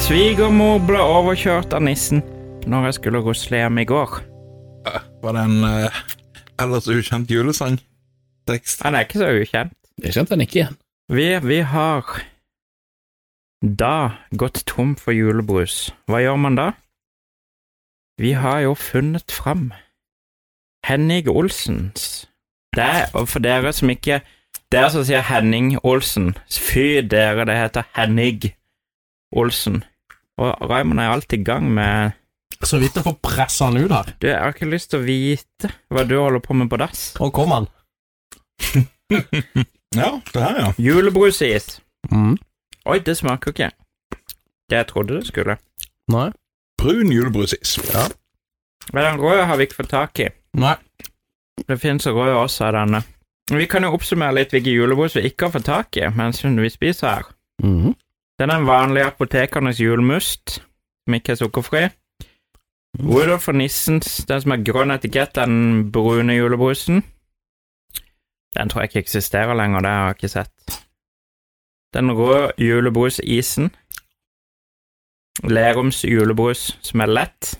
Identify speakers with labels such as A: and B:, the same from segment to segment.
A: Svigermor ble overkjørt av nissen når jeg skulle rusle hjem i går.
B: Var det en eh, ellers ukjent julesangtekst?
A: Han er ikke så ukjent.
C: Det kjente han ikke igjen.
A: Vi, vi har da gått tom for julebrus. Hva gjør man da? Vi har jo funnet fram Henning Olsens. Det er, og for dere som ikke Dere som sier Henning Olsen, fy dere, det heter Henning Olsen. Og Raymond er alltid i gang med
D: Så vidt jeg får pressa han ut her.
A: Du, jeg har ikke lyst til å vite hva du holder på med på dass.
D: Og kom han.
B: Ja, det her, ja.
A: Julebrusis.
D: Mm.
A: Oi, det smaker jo ikke. Det jeg trodde det skulle.
D: Nei.
B: Brun julebrusis. Ja.
A: Men den røde har vi ikke fått tak i.
D: Nei.
A: Det finnes røde også av denne. Vi kan jo oppsummere litt hvilke julebrus vi ikke har fått tak i mens vi spiser her.
D: Mm.
A: Det er den vanlige apotekernes julemust, som ikke er sukkerfri. Rudolf og Nissens, den som har grønn etikett, den brune julebrusen. Den tror jeg ikke eksisterer lenger, det har jeg ikke sett. Den røde julebrusisen. Lerums julebrus, som er lett.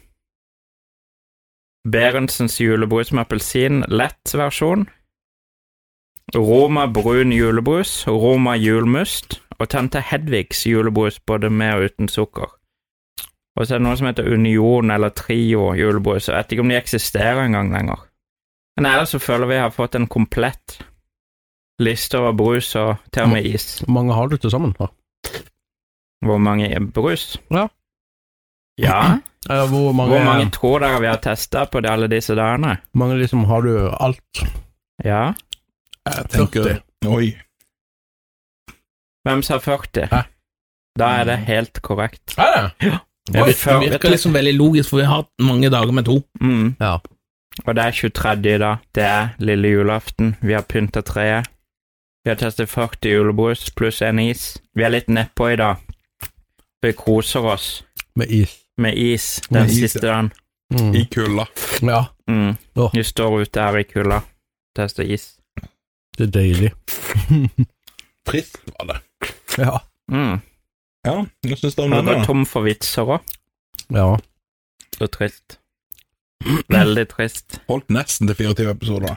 A: Berentsens julebrus med appelsin, lett versjon. Roma brun julebrus, Roma julmust, og tante Hedvigs julebrus både med og uten sukker. Og så er det noe som heter Union eller Trio julebrus, og jeg vet ikke om de eksisterer engang lenger. Men ellers så føler vi har fått en komplett liste over brus og til og med is.
D: Hvor mange har du til sammen? da?
A: Hvor mange er brus?
D: Ja.
A: Ja,
D: Eh, hvor mange,
A: hvor mange tror dere vi har testa på de- alle disse dagene?
D: mange liksom har du alt?
A: Ja.
D: Jeg
B: Oi.
A: Hvem sa 40?
D: Hæ?
A: Da er det helt korrekt.
D: Er det?
C: Det
A: Oi,
C: virker,
A: før-
C: det virker liksom veldig logisk, for vi har hatt mange dager med to.
A: Mm.
D: Ja.
A: Og det er 23. i dag. Det er lille julaften. Vi har pynta treet. Vi har testet 40 julebrus pluss en is. Vi er litt nedpå i dag. Vi koser oss
D: Med is.
A: med is den
B: Med is,
A: siste dagen.
D: Mm.
B: I kulda.
D: Ja,
A: Mm.
D: Åh.
A: Vi står ute her i kulda, tester is.
D: det er deilig.
B: Trist var det.
D: Ja.
A: Mm.
B: Ja, hva syns du om
A: Vi
B: den?
A: går
B: da?
A: tom for vitser òg.
D: ja.
A: Så trist. Veldig trist.
B: Holdt nesten til 24 episoder.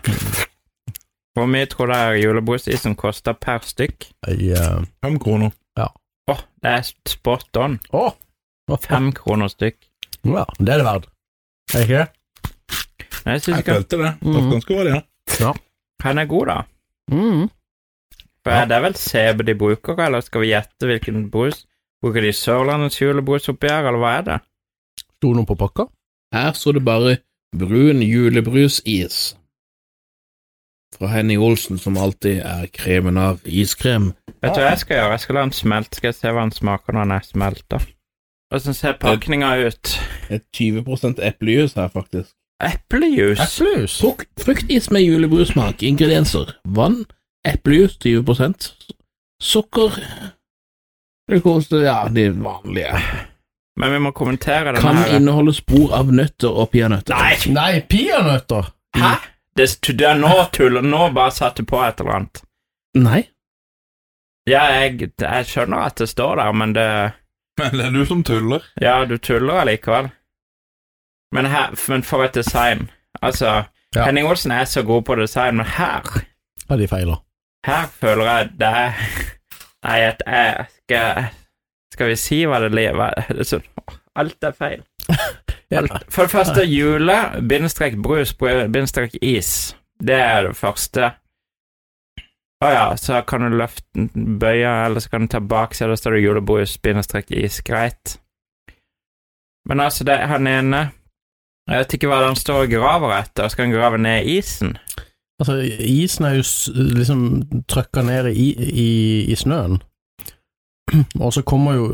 A: Hvor mye tror dere julebrusisen koster per stykk?
D: Jeg, eh,
B: Fem kroner.
A: Åh, det er spot on.
D: Å! hva faen?
A: Fem kroner stykk.
D: Ja, det er det verdt. Er det ikke det?
A: Men Jeg
B: Jeg
A: synes ikke
B: følte det.
D: Mhm.
B: Ofte ganske var det, ja.
A: han er god, da.
D: Mm.
A: For er det vel CB de bruker, eller skal vi gjette hvilken brus? Bruker de Sørlandets julebrus oppi her, eller hva er det?
D: Sto noe på pakka?
C: Her står det bare brun julebrusis fra Henny Olsen, som alltid er kremen av iskrem.
A: Vet du hva jeg skal gjøre? Jeg skal la den smelte, skal jeg se hva den smaker når den er smelta. Åssen ser pakninga ut?
C: Det er 20 eplejus her, faktisk.
A: Eplejus?
D: Eplejus.
C: Frukt, fruktis med julebrussmak. Ingredienser vann, eplejus 20 sukker Glukoste, ja, de vanlige.
A: Men vi må kommentere den
C: Kan
A: her.
C: inneholde spor av nøtter og peanøtter.
A: Nei!
D: Nei, peanøtter.
A: Hæ? Det, det er nå tuller Nå bare satte på et eller annet.
C: Nei.
A: Ja, jeg, jeg skjønner at det står der, men det
B: Men det er du som tuller.
A: Ja, du tuller allikevel. Men, her, men for et design. Altså,
D: Ja.
A: Henning Olsen er så god på design, men her
D: Ja, de feiler.
A: Her føler jeg det er Nei, at jeg skal Skal vi si hva det lever det er så- Alt er feil.
D: Ja.
A: Alt. For det første, jule, bindestrek brus, br- bindestrek is. Det er det første. Å ja, så kan du løfte, bøye, eller så kan du ta bak, så da står det julebrus, bindestrek is. Greit. Men altså, det, han ene Jeg vet ikke hva han står og graver etter. Skal han grave ned isen?
D: Altså, isen er jo s- liksom trøkka ned i, i, i snøen. Og så kommer jo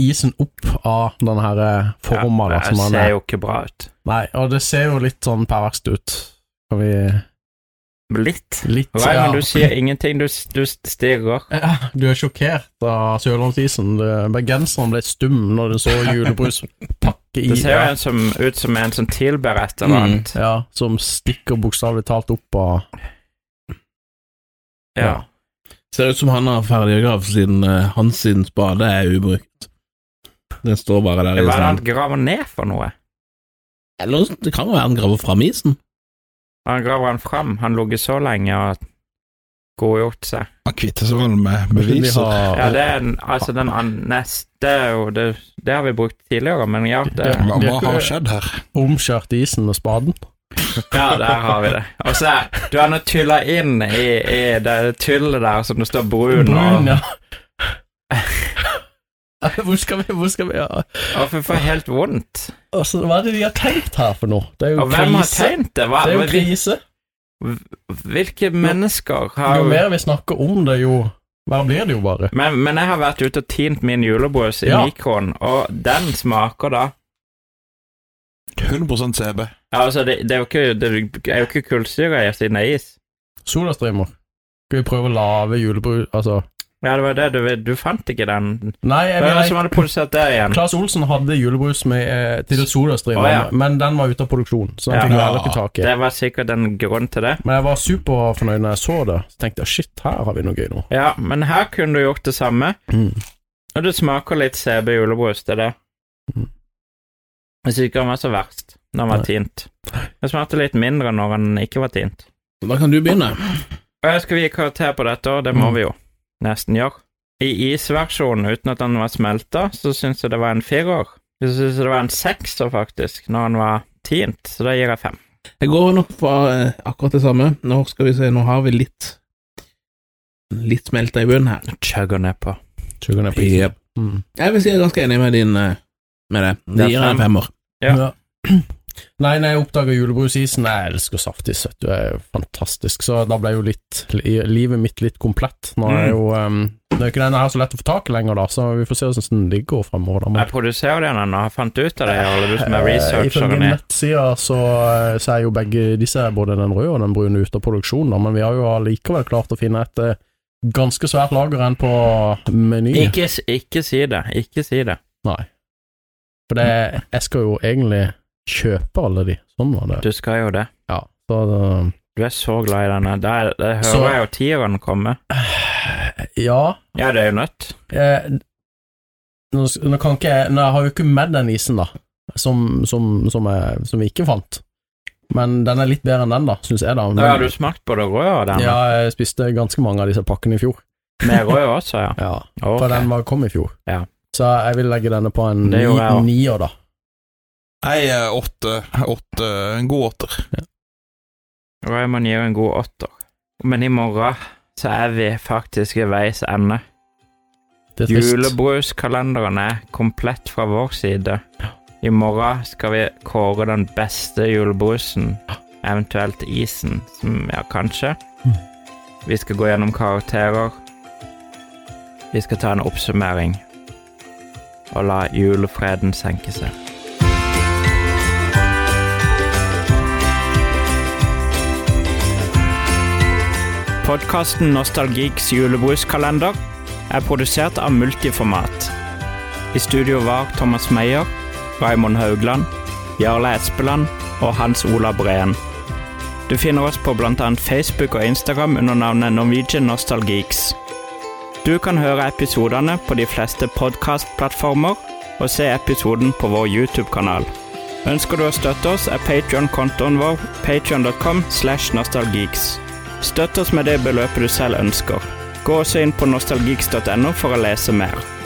D: isen opp av den her eh, forma da,
A: det
D: som han
A: ser
D: er.
A: jo ikke bra ut.
D: Nei, og det ser jo litt sånn perverst ut. Kan vi
A: Litt.
D: Litt
A: Raymond, du sier ingenting. Du, du stirrer.
D: Ja, du er sjokkert av sørlandsisen. Det- Bergenseren ble stum når de så julebruspakke i
A: Det ser jo
D: ja,
A: en som, ut som en som tilber et eller
C: Mm.
A: annet.
D: ja, som stikker bokstavelig talt opp av
A: Ja.
C: Ser ut som han har ferdiggravd siden eh, hans sin spade er ubrukt. Den står bare der.
A: Hva er
C: i
A: det
C: sånn-
A: han graver ned for noe?
C: Eller det kan jo være han graver fram isen.
A: Han graver han fram. Han ligger så lenge og godgjort seg.
B: Han kvitter seg vel med
D: Vi
B: beviser.
D: har,
A: Ja, det er den- altså den an- neste og det, det har vi brukt tidligere, men ja, det,
B: Hva,
D: vi
B: hva
D: har ikke-
B: har skjedd her?
D: omskjært isen med spaden.
A: ja der har vi det. Og så er- du har nå tylla inn i, i det tyllet der som det står brun, og,
D: Brun, ja. Hvor skal vi, hvor skal vi ja.
A: og for, for helt vondt.
D: altså, Hva er det de har tegnet her for noe? Det er jo
A: Og hvem har
D: krise.
A: tegnet det? Hva,
D: Det er jo
A: hvil-
D: krise.
A: hvilke mennesker har
D: Jo mer vi snakker om det, jo verre blir det jo bare.
A: Men, men jeg har vært ute og tint min julebrus i
D: Ja.
A: mikroen, og den smaker da
B: 100 CB.
A: Ja, altså, det, det er jo ikke, det er jo ikke kullsyre i siden det er is.
D: Solastreamer. Skal vi prøve å lage julebrus Altså
A: Ja, det var det. Du, du fant ikke den.
D: Nei, jeg
A: Hvem er det som
D: mener
A: hadde produsert det igjen?
D: Claes Olsen hadde julebrus med eh, til Solastreamer,
A: Å, ja.
D: men den var ute av produksjon, så
A: Ja.
D: den fikk vi heller ikke tak i.
A: Det var sikkert en grunn til det.
D: Men jeg var superfornøyd når jeg så det. Så tenkte jeg shit, her har vi noe gøy nå.
A: Ja, men her kunne du gjort det samme. Og det smaker litt CB julebrus, det er det.
D: Mm.
A: Jeg syns ikke den var så verst når den var
D: Nei.
A: tint. Den smakte litt mindre når den ikke var tint.
C: Så da kan du begynne.
A: Og jeg skal vi gi karakter på dette, og det må
D: Mm.
A: vi jo nesten gjøre. I isversjonen, uten at den var smelta, så syns jeg det var en firer. Jeg syns det var en sekser, faktisk, når den var tint, så da gir jeg fem.
C: Jeg går nok for eh, akkurat det samme. Nå skal vi se, nå har vi litt Litt smelta i bunnen her.
A: Chugger nedpå.
D: Tjugger ned på isen.
C: Yep.
D: Mm.
C: Jeg vil si jeg er ganske enig med din eh, med det.
A: Det
C: Det
A: er
C: gir en
A: fem.
C: femmer.
A: Ja.
D: Nei, når jeg oppdaga julebrusisen Jeg elsker saftis, vet du. Det er jo fantastisk. Så da ble jo litt li- livet mitt litt komplett. Nå er
A: Mm.
D: jo um, Det er jo ikke denne her så lett å få tak i lenger, da, så vi får se hvordan den ligger fremover. Da.
A: Jeg produserer den ennå, jeg fant ut av det, Jarle, du som er researcheren i
D: Eh, Ifølge nettsida så, så er jo begge disse, både den røde og den brune, ute av produksjon, da, men vi har jo allikevel klart å finne et eh, ganske svært lager enn på Meny.
A: ikke, s- ikke si det, ikke si det.
D: Nei. For det, jeg skal jo egentlig kjøpe alle de. Sånn var det.
A: Du skal jo det.
D: Ja. Så, eh,
A: Du er så glad i denne. Der, der hører
D: Så-
A: jeg jo tieren komme.
D: eh, ja
A: Ja, det er jo nødt.
D: eh, nå, s- nå kan ikke jeg Nå jeg har jo ikke med den isen, da, som, som, som, jeg, som vi ikke fant. Men den er litt bedre enn den, da, syns jeg, da. Men,
A: Da har du smakt på det røde og den.
D: ja, jeg spiste ganske mange av disse pakkene i fjor.
A: Med rød også, ja.
D: Ja,
A: Ok.
D: For den var, kom i fjor.
A: Ja.
D: Så jeg vil legge denne på en
A: Det
D: ni,
A: gjorde jeg også.
D: nier, da.
B: Nei, eh, åtte. Åtte. En god åtter.
A: Raymond gir en god åtter. Men i morgen så er vi faktisk ved veis ende.
D: Det er trist.
A: Julebruskalenderen er komplett fra vår side. I morgen skal vi kåre den beste julebrusen, eventuelt isen, som ja, kanskje.
D: Mm.
A: Vi skal gå gjennom karakterer. Vi skal ta en oppsummering og la julefreden senke seg. Podkasten Nostalgiks julebruskalender er produsert av Multiformat. I studio var Thomas Meyer, Raymond Haugland, Jarle Espeland og Hans Ola Breen. Du finner oss på bl.a. Facebook og Instagram under navnet Norwegian Nostalgeeks. Du kan høre episodene på de fleste podkastplattformer og se episoden på vår YouTube-kanal. Ønsker du å støtte oss, er Patreon-kontoen vår patreon.com slash nostalgeeks. Støtt oss med det beløpet du selv ønsker. Gå også inn på nostalgeeks.no for å lese mer.